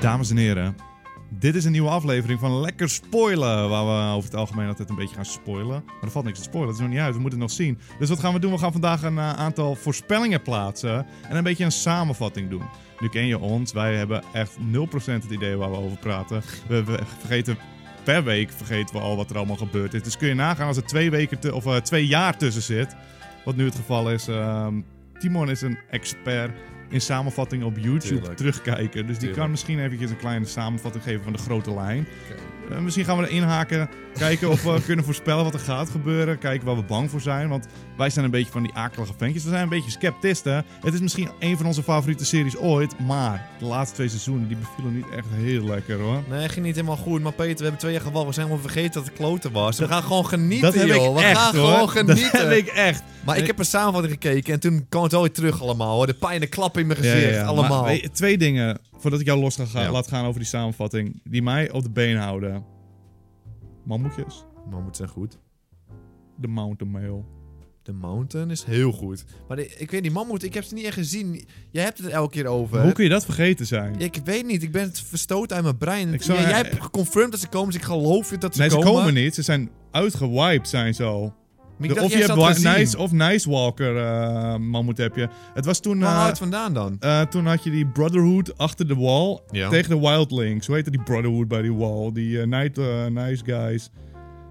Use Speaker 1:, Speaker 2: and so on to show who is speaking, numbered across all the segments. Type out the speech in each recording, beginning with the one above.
Speaker 1: Dames en heren, dit is een nieuwe aflevering van Lekker Spoilen. Waar we over het algemeen altijd een beetje gaan spoilen. Maar er valt niks te spoilen, het is nog niet uit, we moeten het nog zien. Dus wat gaan we doen? We gaan vandaag een eh, aantal voorspellingen plaatsen. En een beetje een samenvatting doen. Nu ken je ons, wij hebben echt 0% het idee waar we over praten. We, we vergeten per week vergeten we al wat er allemaal gebeurd is. Dus kun je nagaan als er twee, weken tu- of, eh, twee jaar tussen zit. Wat nu het geval is. Ehm, Timon is een expert in samenvatting op YouTube
Speaker 2: Tuurlijk.
Speaker 1: terugkijken. Dus die
Speaker 2: Tuurlijk.
Speaker 1: kan misschien eventjes een kleine samenvatting geven van de grote lijn.
Speaker 2: Oké.
Speaker 1: Eh, misschien gaan we erin haken. Kijken of we kunnen voorspellen wat er gaat gebeuren. Kijken waar we bang voor zijn. Want wij zijn een beetje van die akelige ventjes. We zijn een beetje sceptisten. Het is misschien een van onze favoriete series ooit. Maar de laatste twee seizoenen die bevielen niet echt heel lekker hoor.
Speaker 2: Nee, ging niet helemaal goed. Maar Peter, we hebben twee jaar gewacht. We zijn helemaal vergeten dat het kloten was. We gaan gewoon genieten,
Speaker 1: Dat heb
Speaker 2: joh.
Speaker 1: ik
Speaker 2: we
Speaker 1: echt
Speaker 2: gaan
Speaker 1: hoor.
Speaker 2: gewoon genieten.
Speaker 1: Dat heb ik echt.
Speaker 2: Maar ik heb een samenvatting gekeken en toen kwam het wel weer terug allemaal. Hoor. De pijn, de klap in mijn
Speaker 1: Ja,
Speaker 2: gezicht,
Speaker 1: ja, ja.
Speaker 2: allemaal.
Speaker 1: Maar, weet je, twee dingen, voordat ik jou los ga, ga-
Speaker 2: Ja.
Speaker 1: laat gaan over die samenvatting, die mij op de been houden. Mammoetjes.
Speaker 2: Maar moet zijn goed.
Speaker 1: De mountain mail.
Speaker 2: De Mountain is heel goed. Maar de- ik weet niet, Mammoet, ik heb ze niet echt gezien. Jij hebt het er elke keer over.
Speaker 1: Hoe kun je dat vergeten zijn?
Speaker 2: Ik weet niet, ik ben het verstoten uit mijn brein.
Speaker 1: Ik zou-
Speaker 2: jij, jij hebt geconfirmed dat ze komen, dus ik geloof je dat ze
Speaker 1: nee, ze
Speaker 2: komen.
Speaker 1: komen. niet. Ze zijn uitgewiped, zijn ze al. De-
Speaker 2: Maar ik dacht,
Speaker 1: of je
Speaker 2: jij
Speaker 1: hebt
Speaker 2: zat
Speaker 1: Wa-
Speaker 2: te zien.
Speaker 1: Nice of Nice Walker eh, mammoet heb je. Het was toen...
Speaker 2: Waar
Speaker 1: eh,
Speaker 2: houdt het vandaan dan?
Speaker 1: eh, toen had je die Brotherhood achter de wall
Speaker 2: Ja.
Speaker 1: tegen de Wildlings. Hoe heette die Brotherhood bij die wall? Die eh, night, eh, Nice Guys.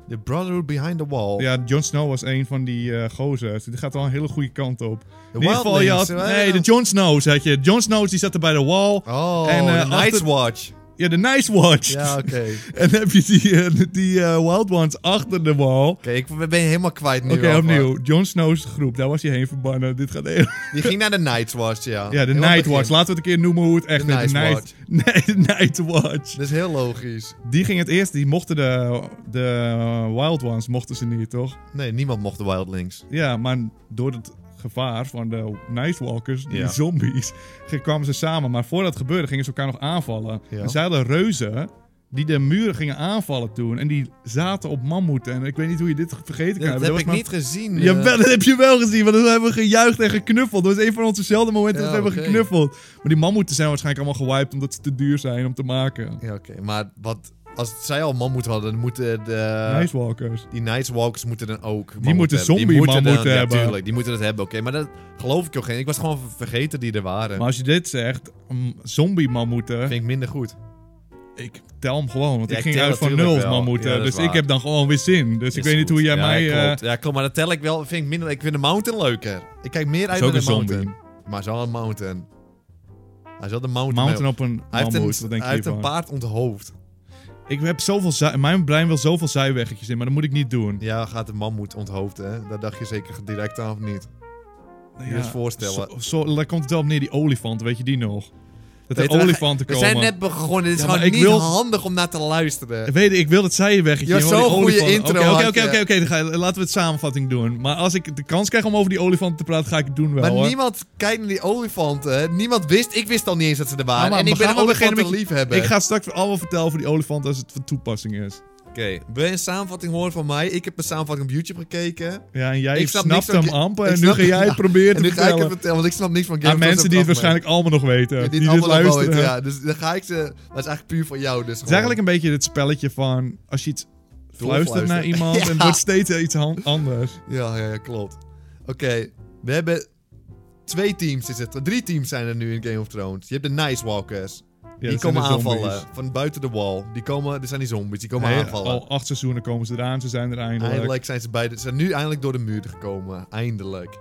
Speaker 2: The Brotherhood Behind the Wall.
Speaker 1: Ja, Jon Snow was een van die eh gozers. Die gaat al een hele goede kant op.
Speaker 2: De
Speaker 1: In ieder geval, je had,
Speaker 2: Wildlings, eh,
Speaker 1: nee, de Jon Snow's had je. Jon Snow's die zaten bij de wall.
Speaker 2: Oh,
Speaker 1: En,
Speaker 2: en,
Speaker 1: eh,
Speaker 2: de Night's
Speaker 1: achter-
Speaker 2: Watch.
Speaker 1: Ja, de Nice Watch.
Speaker 2: Ja, oké. Oké,
Speaker 1: En dan heb je die, eh, die eh, Wild Ones achter de wall. Oké,
Speaker 2: ik ben je helemaal kwijt nu. hoor,
Speaker 1: opnieuw. Jon Snow's groep, daar was hij heen verbannen. Dit gaat heel...
Speaker 2: maar- Die ging naar de Night's Watch, ja.
Speaker 1: Ja, de
Speaker 2: Heel
Speaker 1: Night
Speaker 2: begin.
Speaker 1: Watch. Laten we het een keer noemen hoe het echt
Speaker 2: De
Speaker 1: is.
Speaker 2: Night
Speaker 1: Nee, de Night Watch.
Speaker 2: Dat is heel logisch.
Speaker 1: Die ging het eerst, die mochten de, de Wild Ones, mochten ze niet, toch?
Speaker 2: Nee, niemand mocht de Wildlings.
Speaker 1: Ja, maar door het gevaar van de Nightwalkers, die
Speaker 2: Ja.
Speaker 1: zombies, ge- kwamen ze samen. Maar voordat het gebeurde, gingen ze elkaar nog aanvallen.
Speaker 2: Ja.
Speaker 1: En ze hadden reuzen die de muren gingen aanvallen toen. En die zaten op mammoeten. En ik weet niet hoe je dit vergeten kan
Speaker 2: dat
Speaker 1: hebben.
Speaker 2: heb
Speaker 1: was
Speaker 2: ik
Speaker 1: maar-
Speaker 2: niet gezien. eh.
Speaker 1: Jawel, dat heb je wel gezien, want we hebben gejuicht en geknuffeld. Dat was een van onze zelden momenten dat we
Speaker 2: Ja,
Speaker 1: hebben
Speaker 2: oké.
Speaker 1: geknuffeld. Maar die mammoeten zijn waarschijnlijk allemaal gewiped omdat ze te duur zijn om te maken.
Speaker 2: Ja, oké. Maar wat... Als zij al mammoet hadden, dan moeten de...
Speaker 1: Nightwalkers.
Speaker 2: Die Nightwalkers moeten dan ook mammoet
Speaker 1: moeten
Speaker 2: hebben.
Speaker 1: zombie mammoeten
Speaker 2: dan-
Speaker 1: hebben.
Speaker 2: Ja, tuurlijk. Die moeten dat hebben, oké. Maar dat geloof ik ook geen. Ik was gewoon vergeten die er waren.
Speaker 1: Maar als je dit zegt, mm, zombie mammoeten.
Speaker 2: vind ik minder goed.
Speaker 1: Ik tel hem gewoon, want ik
Speaker 2: Ja, ik
Speaker 1: ging
Speaker 2: tel
Speaker 1: uit van
Speaker 2: natuurlijk
Speaker 1: nul
Speaker 2: wel.
Speaker 1: mammoeten.
Speaker 2: Ja, dat is
Speaker 1: dus ik
Speaker 2: waar.
Speaker 1: heb dan gewoon weer zin. Dus ik weet niet hoe jij mij...
Speaker 2: Ja,
Speaker 1: eh,
Speaker 2: klopt. ja, klopt. Maar dat tel ik wel. Vind ik minder... Ik vind de mountain leuker. Ik kijk meer uit
Speaker 1: ook
Speaker 2: naar de
Speaker 1: een zombie.
Speaker 2: mountain. Maar zo een mountain. Hij is wel de mountain.
Speaker 1: mountain op een
Speaker 2: hij heeft,
Speaker 1: mammoet,
Speaker 2: een,
Speaker 1: wat denk je
Speaker 2: hij heeft een
Speaker 1: hiervan?
Speaker 2: paard onthoofd.
Speaker 1: Ik heb zoveel... zij- Mijn brein wil zoveel zijweggetjes in, maar dat moet ik niet doen.
Speaker 2: Ja, gaat de mammoet onthoofden, hè? Daar dacht je zeker direct aan of niet? je eens voorstellen.
Speaker 1: Zo, zo- daar komt het wel op neer, die olifant, weet je die nog? Dat er
Speaker 2: Peter,
Speaker 1: olifanten
Speaker 2: We
Speaker 1: komen.
Speaker 2: zijn net begonnen. Dit is
Speaker 1: Ja, maar
Speaker 2: gewoon
Speaker 1: ik
Speaker 2: niet
Speaker 1: wil-
Speaker 2: handig om naar te luisteren.
Speaker 1: Weet ik, ik wil het zijweggetje.
Speaker 2: Je had
Speaker 1: hoor, die
Speaker 2: zo'n goede
Speaker 1: olifanten.
Speaker 2: intro
Speaker 1: Oké, Oké,
Speaker 2: had
Speaker 1: oké,
Speaker 2: je.
Speaker 1: oké, oké, dan ga- laten we het samenvatting doen. Maar als ik de kans krijg om over die olifanten te praten, ga ik het doen wel.
Speaker 2: Maar
Speaker 1: hoor.
Speaker 2: niemand kijkt naar die olifanten. Niemand wist. Ik wist al niet eens dat ze er waren.
Speaker 1: Ja, maar
Speaker 2: en
Speaker 1: we
Speaker 2: ik ben
Speaker 1: gaan op een gegeven
Speaker 2: olifanten
Speaker 1: moment-
Speaker 2: liefhebber.
Speaker 1: Ik ga straks allemaal vertellen over die olifant als het van toepassing is.
Speaker 2: Oké, wil je een samenvatting horen van mij? Ik heb een samenvatting op YouTube gekeken.
Speaker 1: Ja, en jij
Speaker 2: Ik snap
Speaker 1: snapt
Speaker 2: niks van
Speaker 1: hem
Speaker 2: ki-
Speaker 1: amper
Speaker 2: ik
Speaker 1: en nu
Speaker 2: snap-
Speaker 1: ga jij het
Speaker 2: ja,
Speaker 1: proberen te
Speaker 2: En nu ga ik het
Speaker 1: vertellen.
Speaker 2: vertellen, want ik snap niks van Game
Speaker 1: Aan
Speaker 2: of Thrones
Speaker 1: mensen die het
Speaker 2: vanaf mij.
Speaker 1: waarschijnlijk allemaal nog weten.
Speaker 2: Ja,
Speaker 1: die
Speaker 2: dit
Speaker 1: dit
Speaker 2: allemaal wel
Speaker 1: luisteren.
Speaker 2: weten, ja. Dus dan ga ik ze... Maar het is eigenlijk puur van jou, dus
Speaker 1: Het is eigenlijk een beetje het spelletje van als je iets fluistert
Speaker 2: Doorfluisteren.
Speaker 1: naar iemand en het
Speaker 2: Ja.
Speaker 1: wordt steeds iets han- anders.
Speaker 2: Ja, ja, ja, klopt. Oké, we hebben twee teams. Is het. Drie teams zijn er nu in Game of Thrones. Je hebt de Nice Walkers.
Speaker 1: Ja,
Speaker 2: die
Speaker 1: dat zijn
Speaker 2: komen
Speaker 1: de zombies.
Speaker 2: aanvallen van buiten de wall. Die komen, er zijn die zombies, die komen
Speaker 1: Nee,
Speaker 2: aanvallen.
Speaker 1: Al acht seizoenen komen ze eraan, ze zijn er eindelijk.
Speaker 2: Eindelijk zijn ze bij de, ze zijn nu eindelijk door de muur gekomen. Eindelijk.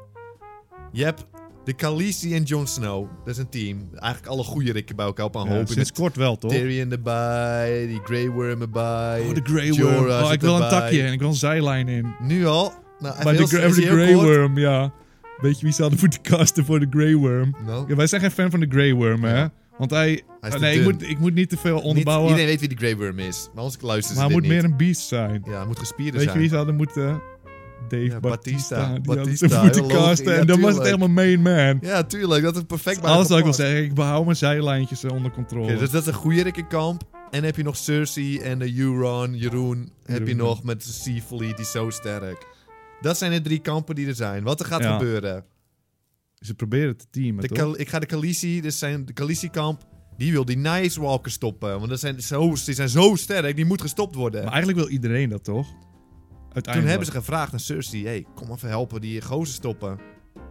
Speaker 2: Je hebt de Khaleesi en Jon Snow. Dat is een team. Eigenlijk alle goede rikken bij elkaar op een
Speaker 1: Ja,
Speaker 2: hoop.
Speaker 1: sinds kort wel, toch?
Speaker 2: Tyrion erbij, die Grey Worm erbij.
Speaker 1: Oh, de Grey
Speaker 2: Jorah
Speaker 1: Worm. Oh,
Speaker 2: zit
Speaker 1: ik wil een
Speaker 2: erbij.
Speaker 1: takje en ik wil een zijlijn in.
Speaker 2: Nu al? Nou, even
Speaker 1: Maar de,
Speaker 2: heel-
Speaker 1: Gre-
Speaker 2: is
Speaker 1: de
Speaker 2: heel
Speaker 1: Grey
Speaker 2: kort.
Speaker 1: Worm, ja. Weet je wie ze hadden moeten casten voor de Grey Worm?
Speaker 2: Nou,
Speaker 1: Ja, wij zijn geen fan van de Grey Worm, hè?
Speaker 2: Ja.
Speaker 1: Want hij...
Speaker 2: Hij is te
Speaker 1: nee, ik
Speaker 2: dun.
Speaker 1: moet, ik moet niet te veel
Speaker 2: niet,
Speaker 1: onderbouwen.
Speaker 2: iedereen weet wie die Grey Worm is. Maar anders luisteren
Speaker 1: maar hij
Speaker 2: ze dit
Speaker 1: moet
Speaker 2: niet.
Speaker 1: meer een beest zijn.
Speaker 2: Ja, hij moet gespierd
Speaker 1: Weet
Speaker 2: zijn.
Speaker 1: je wie ze hadden moeten... Dave
Speaker 2: Dus Ja,
Speaker 1: Batista.
Speaker 2: Batista.
Speaker 1: Die hadden ze
Speaker 2: Batista,
Speaker 1: moeten
Speaker 2: heel logisch.
Speaker 1: casten.
Speaker 2: Ja,
Speaker 1: en dan was het
Speaker 2: tuurlijk.
Speaker 1: helemaal main man.
Speaker 2: Ja, tuurlijk. Dat is perfect bij
Speaker 1: Alles
Speaker 2: elkaar
Speaker 1: wat ik wil
Speaker 2: past.
Speaker 1: zeggen, ik behoud mijn zijlijntjes eh, onder controle.
Speaker 2: Oké, dus dat is een goede rikkenkamp. En dan heb je nog Cersei en de Euron, Jeroen. Heb je
Speaker 1: Jeroen.
Speaker 2: nog met de Sea Fleet, die is zo sterk. Dat zijn de drie kampen die er zijn. Wat er gaat
Speaker 1: Ja.
Speaker 2: gebeuren.
Speaker 1: Ze proberen het te teamen,
Speaker 2: De
Speaker 1: toch?
Speaker 2: Khal- ik ga de Khaleesi, dus zijn de Khaleesi kamp. Die wil die Nice Walker stoppen. Want dat zijn zo, die zijn zo sterk, die moet gestopt worden.
Speaker 1: Maar eigenlijk wil iedereen dat toch?
Speaker 2: Toen
Speaker 1: Uiteindelijk.
Speaker 2: hebben ze gevraagd aan Cersei: hey, kom even helpen die gozer stoppen.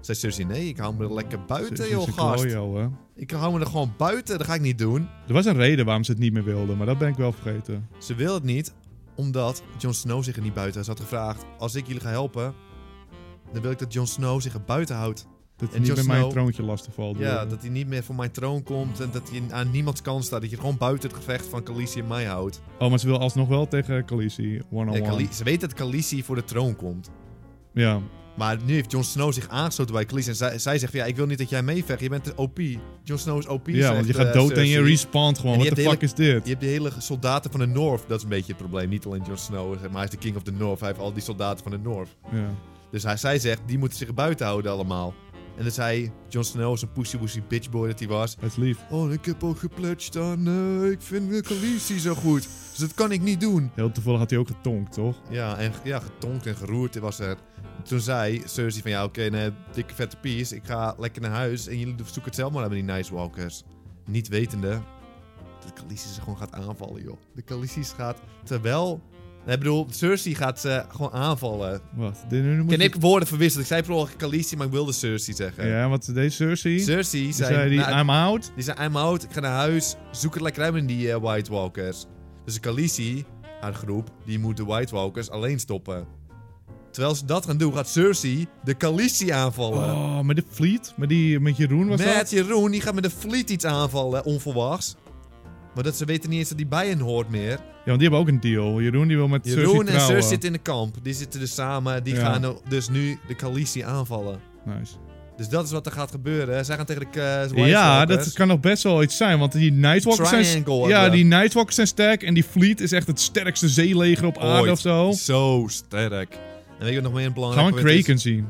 Speaker 2: Zei Cersei: nee, ik hou me er lekker buiten, joh, gast.
Speaker 1: hè?
Speaker 2: Ik hou me er gewoon buiten, dat ga ik niet doen.
Speaker 1: Er was een reden waarom ze het niet meer wilden, maar dat ben ik wel vergeten.
Speaker 2: Ze wil het niet, omdat Jon Snow zich er niet buiten. Ze had gevraagd: als ik jullie ga helpen, dan wil ik dat Jon Snow zich er buiten houdt.
Speaker 1: Dat het
Speaker 2: En
Speaker 1: niet
Speaker 2: Jon
Speaker 1: met mijn
Speaker 2: Snow-
Speaker 1: troontje lastig valt.
Speaker 2: Ja, dat hij niet meer voor mijn troon komt en dat hij aan niemands kant staat. Dat je gewoon buiten het gevecht van Khaleesi en mij houdt.
Speaker 1: Oh, maar ze wil alsnog wel tegen Khaleesi,
Speaker 2: Ja,
Speaker 1: one-on-one. Ja,
Speaker 2: Khale- ze weet dat Khaleesi voor de troon komt.
Speaker 1: ja.
Speaker 2: Maar nu heeft Jon Snow zich aangesloten bij Khaleesi. En zij, zij zegt van, ja, ik wil niet dat jij meevecht. Je bent de OP. Jon Snow is OP, zegt,
Speaker 1: want je
Speaker 2: eh,
Speaker 1: gaat dood en je
Speaker 2: Cersei.
Speaker 1: respawnt gewoon.
Speaker 2: En
Speaker 1: What
Speaker 2: die
Speaker 1: the fuck
Speaker 2: heeft
Speaker 1: is dit?
Speaker 2: Je hebt de hele soldaten van de North. Dat is een beetje het probleem. Niet alleen Jon Snow, zeg maar hij is de king of the North. Hij heeft al die soldaten van de North.
Speaker 1: Ja.
Speaker 2: Dus hij, zij zegt, die moeten zich buiten houden allemaal. En dan zei Jon Snow, zo'n pussy-wussy bitchboy dat hij was...
Speaker 1: Dat is lief.
Speaker 2: Oh, ik heb ook gepledged aan... eh, ik vind eh, Khaleesi zo goed. Dus dat kan ik niet doen.
Speaker 1: Heel toevallig had hij ook getonkt, toch?
Speaker 2: Ja, en ja, getonkt en geroerd was er. Toen zei Cersei van ja, oké, nee, dikke vette pies. Ik ga lekker naar huis en jullie zoeken het zelf maar uit met die Nice Walkers. Niet wetende dat Khaleesi ze gewoon gaat aanvallen, joh. De Khaleesi gaat, terwijl... Nee, Ik bedoel, Cersei gaat ze gewoon aanvallen.
Speaker 1: Wat? Dit- nu moet
Speaker 2: Ken
Speaker 1: je-
Speaker 2: ik woorden verwisseld? Ik zei per ongeluk Khaleesi, maar ik wilde Cersei zeggen.
Speaker 1: Ja, wat deed Cersei? Die
Speaker 2: Cersei zei...
Speaker 1: zei die,
Speaker 2: nou,
Speaker 1: I'm out.
Speaker 2: die zei, I'm out, ik ga naar huis. Zoek het lekker uit met die eh, White Walkers. Dus de Khaleesi, haar groep, die moet de White Walkers alleen stoppen. Terwijl ze dat gaan doen, gaat Cersei de Khaleesi aanvallen.
Speaker 1: Oh, met de fleet? Met, die, met Jeroen was
Speaker 2: eh. met
Speaker 1: dat?
Speaker 2: Jeroen, die gaat met de fleet iets aanvallen, onverwachts. Maar dat ze weten niet eens dat die bij hen hoort meer.
Speaker 1: Ja, want die hebben ook een deal. Jeroen die wil met Cersei
Speaker 2: Jeroen en
Speaker 1: trouwen.
Speaker 2: Cersei zitten in de kamp. Die zitten dus samen. Die
Speaker 1: Ja.
Speaker 2: gaan dus nu de Khaleesi aanvallen.
Speaker 1: Nice.
Speaker 2: Dus dat is wat er gaat gebeuren. Zij gaan tegen de eh, White
Speaker 1: Ja,
Speaker 2: Walkers.
Speaker 1: dat kan nog best wel iets zijn, want die Nightwalkers zijn...
Speaker 2: Triangle
Speaker 1: Ja,
Speaker 2: hebben we.
Speaker 1: die Nightwalkers zijn sterk en die fleet is echt het sterkste zeeleger op aarde
Speaker 2: Ooit.
Speaker 1: of zo.
Speaker 2: Zo sterk. En weet je wat nog meer een belangrijk
Speaker 1: Gaan we een
Speaker 2: punt is?
Speaker 1: Kraken zien.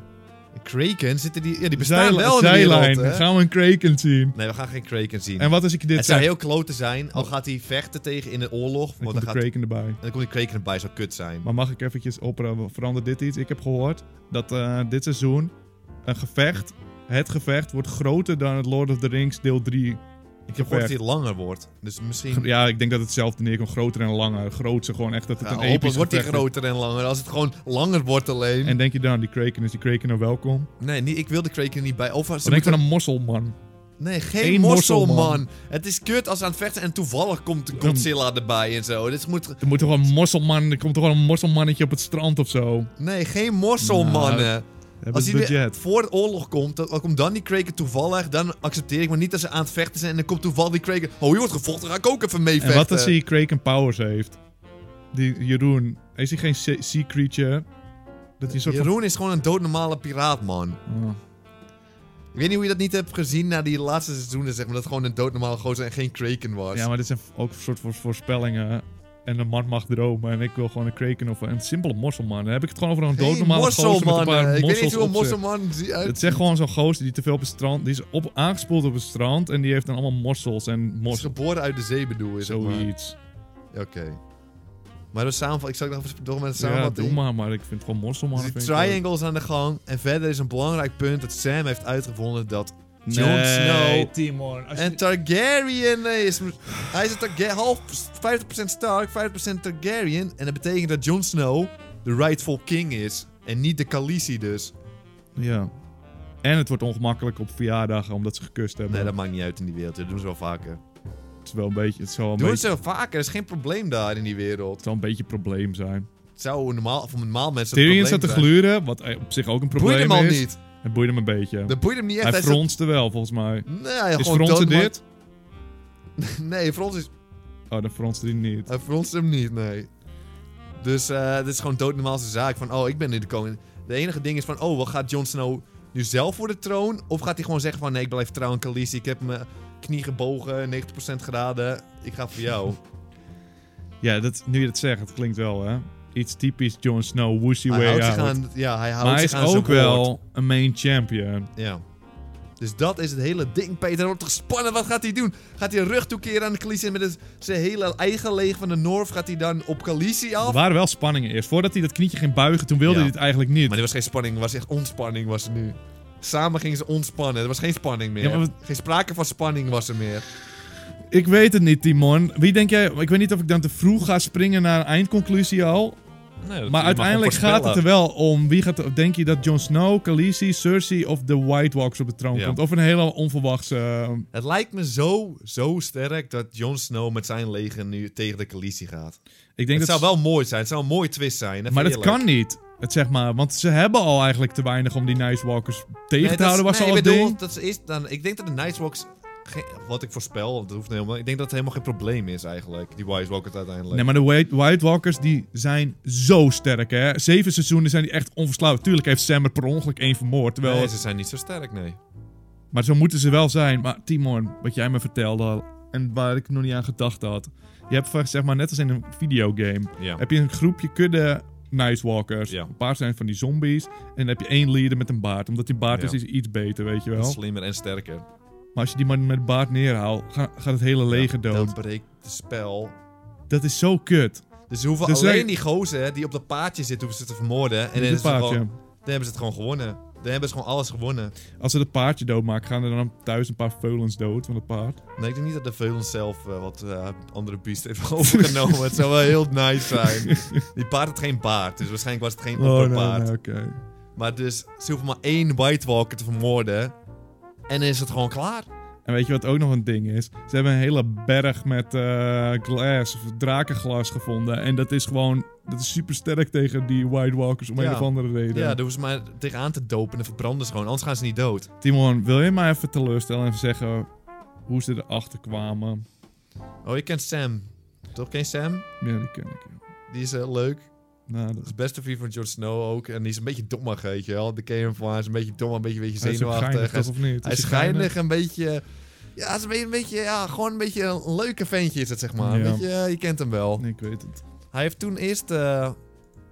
Speaker 2: Kraken zitten die. Ja, die bestaan
Speaker 1: Zij,
Speaker 2: wel in de
Speaker 1: zijlijn.
Speaker 2: wereld, hè?
Speaker 1: Gaan we een Kraken zien.
Speaker 2: Nee, we gaan geen Kraken zien.
Speaker 1: En wat als ik dit
Speaker 2: het zou
Speaker 1: zeg?
Speaker 2: heel klote zijn, al gaat hij vechten tegen in een oorlog.
Speaker 1: Dan
Speaker 2: Want
Speaker 1: komt
Speaker 2: dan,
Speaker 1: de
Speaker 2: gaat, en
Speaker 1: Kraken erbij.
Speaker 2: dan komt die Kraken erbij, zou kut zijn.
Speaker 1: Maar mag ik eventjes opperen, verandert dit iets? Ik heb gehoord dat eh, dit seizoen een gevecht, het gevecht, wordt groter dan het Lord of the Rings deel 3.
Speaker 2: ik heb gehoord dat hij langer wordt. Dus misschien. Ja,
Speaker 1: Ja, ik denk dat hetzelfde neerkomt. Groter en langer. Grootser gewoon echt dat het een
Speaker 2: hopelijk
Speaker 1: episch
Speaker 2: wordt hij
Speaker 1: gevecht is.
Speaker 2: groter en langer. Als het gewoon langer wordt alleen.
Speaker 1: En denk je dan, die Kraken, is die Kraken nou welkom?
Speaker 2: Nee, niet, ik wil de Kraken niet bij. Of ze
Speaker 1: Ze denk
Speaker 2: moeten...
Speaker 1: van een mosselman.
Speaker 2: Nee, geen
Speaker 1: Geen
Speaker 2: mosselman.
Speaker 1: mosselman.
Speaker 2: Het is kut als ze aan het vechten en toevallig komt Godzilla erbij en zo. Dus het moet...
Speaker 1: Er moet toch wel een mosselman, er komt toch wel een mosselmannetje op het strand of zo.
Speaker 2: Nee, geen mosselmannen.
Speaker 1: Hebben
Speaker 2: Als
Speaker 1: ze
Speaker 2: die weer
Speaker 1: budget.
Speaker 2: voor de oorlog komt, dan dan komt dan die Kraken toevallig. Dan accepteer ik, maar niet als ze aan het vechten zijn. En dan komt toevallig die Kraken. Oh, hier wordt gevochten, ga ik ook even mee
Speaker 1: En
Speaker 2: vechten.
Speaker 1: wat als hij Kraken powers heeft? Die Jeroen, is hij geen sea sea creature? Dat hij een soort
Speaker 2: Jeroen is gewoon een doodnormale piraat, man.
Speaker 1: van... Oh.
Speaker 2: Ik weet niet hoe je dat niet hebt gezien na die laatste seizoenen, zeg maar. Dat het gewoon een doodnormale gozer en geen Kraken was.
Speaker 1: Ja, maar dit zijn ook een soort voor- voorspellingen. En een man mag dromen en ik wil gewoon een Kraken of een simpele mosselman. Dan heb ik het gewoon over een
Speaker 2: Geen
Speaker 1: doodnormale gozer met een
Speaker 2: mosselmannen.
Speaker 1: paar
Speaker 2: Ik weet niet
Speaker 1: mossels
Speaker 2: hoe een
Speaker 1: op zich.
Speaker 2: mosselman zie- uit-
Speaker 1: Het is echt gewoon zo'n gozer die te veel op het strand... Die is op, aangespoeld op het strand en die heeft dan allemaal mossels en
Speaker 2: is
Speaker 1: mossels.
Speaker 2: geboren uit de zee, bedoel je, zeg maar.
Speaker 1: Zoiets.
Speaker 2: Oké. Maar de samenvatting... Ik zal nog even door met de
Speaker 1: Ja,
Speaker 2: samenvatting.
Speaker 1: doe maar, maar ik vind gewoon mosselman.
Speaker 2: Dus die
Speaker 1: vind ik
Speaker 2: triangles aan de gang. En verder is een belangrijk punt dat Sam heeft uitgevonden dat
Speaker 1: leuk.
Speaker 2: Jon Snow
Speaker 1: Timon. als je-
Speaker 2: En Targaryen eh, is... Hij is een Targa- half 50% Stark, 50% Targaryen. En dat betekent dat Jon Snow de rightful king is. En niet de Khaleesi dus.
Speaker 1: Ja. En het wordt ongemakkelijk op verjaardagen omdat ze gekust hebben.
Speaker 2: Nee, dat maakt niet uit in die wereld. Dat doen ze wel vaker.
Speaker 1: Het is wel een beetje, het zou wel een
Speaker 2: Doen
Speaker 1: beetje,
Speaker 2: ze wel vaker. Er is geen probleem daar in die wereld.
Speaker 1: het zou een beetje een probleem zijn.
Speaker 2: Het zou normaal, voor normaal mensen een
Speaker 1: Tyrion
Speaker 2: probleem
Speaker 1: zat
Speaker 2: zijn.
Speaker 1: te gluren, wat eh, op zich ook een probleem
Speaker 2: Boeit hem al
Speaker 1: is.
Speaker 2: niet.
Speaker 1: Het boeide hem een beetje.
Speaker 2: Dat boeit hem niet echt.
Speaker 1: Hij
Speaker 2: zat-
Speaker 1: fronste wel, volgens mij.
Speaker 2: Nee, hij
Speaker 1: Is
Speaker 2: gewoon
Speaker 1: fronsen
Speaker 2: doodma-
Speaker 1: dit?
Speaker 2: Nee, Frons is...
Speaker 1: Oh, dan fronste hij niet.
Speaker 2: Hij fronst hem niet, nee. Dus eh dit is gewoon doodnormaalste zaak. Van, oh, ik ben nu de koning. De enige ding is van, oh, wat gaat Jon Snow nu zelf voor de troon? Of gaat hij gewoon zeggen van, nee, ik blijf trouw aan Khaleesi. Ik heb mijn knie gebogen, 90% geraden. Ik ga voor jou.
Speaker 1: Ja, dat, nu je dat zegt, het klinkt wel, hè? Iets typisch Jon Snow, woosy
Speaker 2: hij
Speaker 1: way
Speaker 2: houdt
Speaker 1: out.
Speaker 2: zich aan, ja, hij houdt
Speaker 1: maar hij
Speaker 2: zich
Speaker 1: is
Speaker 2: aan zijn
Speaker 1: ook wel
Speaker 2: woord.
Speaker 1: een main champion.
Speaker 2: Ja. Dus dat is het hele ding. Peter wordt gespannen. Wat gaat hij doen? Gaat hij rug toekeren aan Khaleesi en met het- zijn hele eigen leger van de North gaat hij dan op Khaleesi af?
Speaker 1: Er waren wel spanningen eerst. Voordat hij dat knietje ging buigen, toen wilde
Speaker 2: Ja.
Speaker 1: hij het eigenlijk niet.
Speaker 2: Maar dit was geen spanning, het was echt ontspanning was er nu. Samen gingen ze ontspannen, er was geen spanning meer.
Speaker 1: Ja, maar wat-
Speaker 2: Geen sprake van spanning was er meer.
Speaker 1: Ik weet het niet, Timon. Wie denk jij... Ik weet niet of ik dan te vroeg ga springen naar een eindconclusie al.
Speaker 2: Nee, dat-
Speaker 1: Maar
Speaker 2: je mag
Speaker 1: uiteindelijk
Speaker 2: gewoon
Speaker 1: gaat het er wel om. Wie gaat... er- Denk je dat Jon Snow, Khaleesi, Cersei of de White Walkers op de troon
Speaker 2: Ja.
Speaker 1: komt? Of een hele onverwachte... eh,
Speaker 2: Het lijkt me zo, zo sterk dat Jon Snow met zijn leger nu tegen de coalitie gaat.
Speaker 1: ik
Speaker 2: Het
Speaker 1: denk
Speaker 2: zou
Speaker 1: dat...
Speaker 2: wel mooi zijn. Het zou een mooie twist zijn. even
Speaker 1: Maar dat
Speaker 2: eerlijk.
Speaker 1: kan niet. Het zeg maar, want ze hebben al eigenlijk te weinig om die Night Walkers tegen
Speaker 2: Nee,
Speaker 1: te
Speaker 2: dat is-
Speaker 1: houden, was
Speaker 2: nee,
Speaker 1: al
Speaker 2: ik
Speaker 1: het
Speaker 2: bedoel,
Speaker 1: ding.
Speaker 2: Dat is, eerst dan, ik denk dat de Nightwalks, ge- wat ik voorspel, want dat hoeft niet helemaal, ik denk dat het helemaal geen probleem is eigenlijk, die Wise Walkers uiteindelijk.
Speaker 1: Nee, maar de White, White Walkers die zijn zo sterk, hè. Zeven seizoenen zijn die echt onverslaafd. Tuurlijk heeft Sam er per ongeluk één vermoord, terwijl...
Speaker 2: Nee, ze zijn niet zo sterk, nee.
Speaker 1: Maar zo moeten ze wel zijn. Maar Timon, wat jij me vertelde al, en waar ik nog niet aan gedacht had. Je hebt van, zeg maar net als in een videogame,
Speaker 2: Ja.
Speaker 1: heb je een groepje kudde Nightwalkers.
Speaker 2: Ja.
Speaker 1: Een paar zijn van die zombies. En dan heb je één leader met een baard. Omdat die baard
Speaker 2: Ja.
Speaker 1: is, is iets beter, weet je wel.
Speaker 2: Slimmer en sterker.
Speaker 1: Maar als je die man met baard neerhaalt, ga- gaat het hele leger
Speaker 2: Ja,
Speaker 1: dood.
Speaker 2: Dan breekt het spel.
Speaker 1: Dat is zo kut.
Speaker 2: Dus ze hoeven
Speaker 1: Dus
Speaker 2: alleen
Speaker 1: zij-
Speaker 2: die gozer die op dat paardje zit, hoeven ze te vermoorden. En
Speaker 1: Met
Speaker 2: dan,
Speaker 1: dit
Speaker 2: is het gewoon-
Speaker 1: paardje.
Speaker 2: dan hebben ze het gewoon gewonnen. Dan hebben ze gewoon alles gewonnen.
Speaker 1: Als ze dat paardje doodmaken, gaan er dan thuis een paar veulens dood van het paard.
Speaker 2: Nee, ik denk niet dat de Veulens zelf eh, wat eh, andere beest heeft overgenomen. het zou wel heel nice zijn. Die paard had geen baard, dus waarschijnlijk was het geen
Speaker 1: Oh, nee,
Speaker 2: opperpaard.
Speaker 1: nee, oké.
Speaker 2: Maar dus, ze hoeven maar één White Walker te vermoorden. En dan is het gewoon klaar.
Speaker 1: En weet je wat ook nog een ding is? Ze hebben een hele berg met eh glas, of drakenglas gevonden. En dat is gewoon, dat is super sterk tegen die White Walkers om
Speaker 2: Ja.
Speaker 1: een of andere reden.
Speaker 2: Ja, daar hoeven ze maar tegenaan te dopen en dan verbranden ze gewoon. Anders gaan ze niet dood.
Speaker 1: Timon, wil je mij even teleurstellen en even zeggen hoe ze erachter kwamen?
Speaker 2: Oh, je kent Sam. Toch? Ken je Sam?
Speaker 1: Ja, die ken ik. ja.
Speaker 2: Die is heel leuk. Dat
Speaker 1: Nou, dat
Speaker 2: is de beste vriend van Jon Snow ook. En die is een beetje dommig, weet je wel. De ken je hem van. Hij is een beetje dom, een beetje, een beetje
Speaker 1: hij is ook
Speaker 2: zenuwachtig.
Speaker 1: geinig, toch, of niet?
Speaker 2: hij is schijnig, een beetje... Ja, hij is een beetje, een beetje, ja, gewoon een beetje een leuke ventje is het, zeg maar.
Speaker 1: Ja.
Speaker 2: Weet je, eh, je kent hem wel.
Speaker 1: Nee, ik weet het.
Speaker 2: Hij heeft toen eerst eh,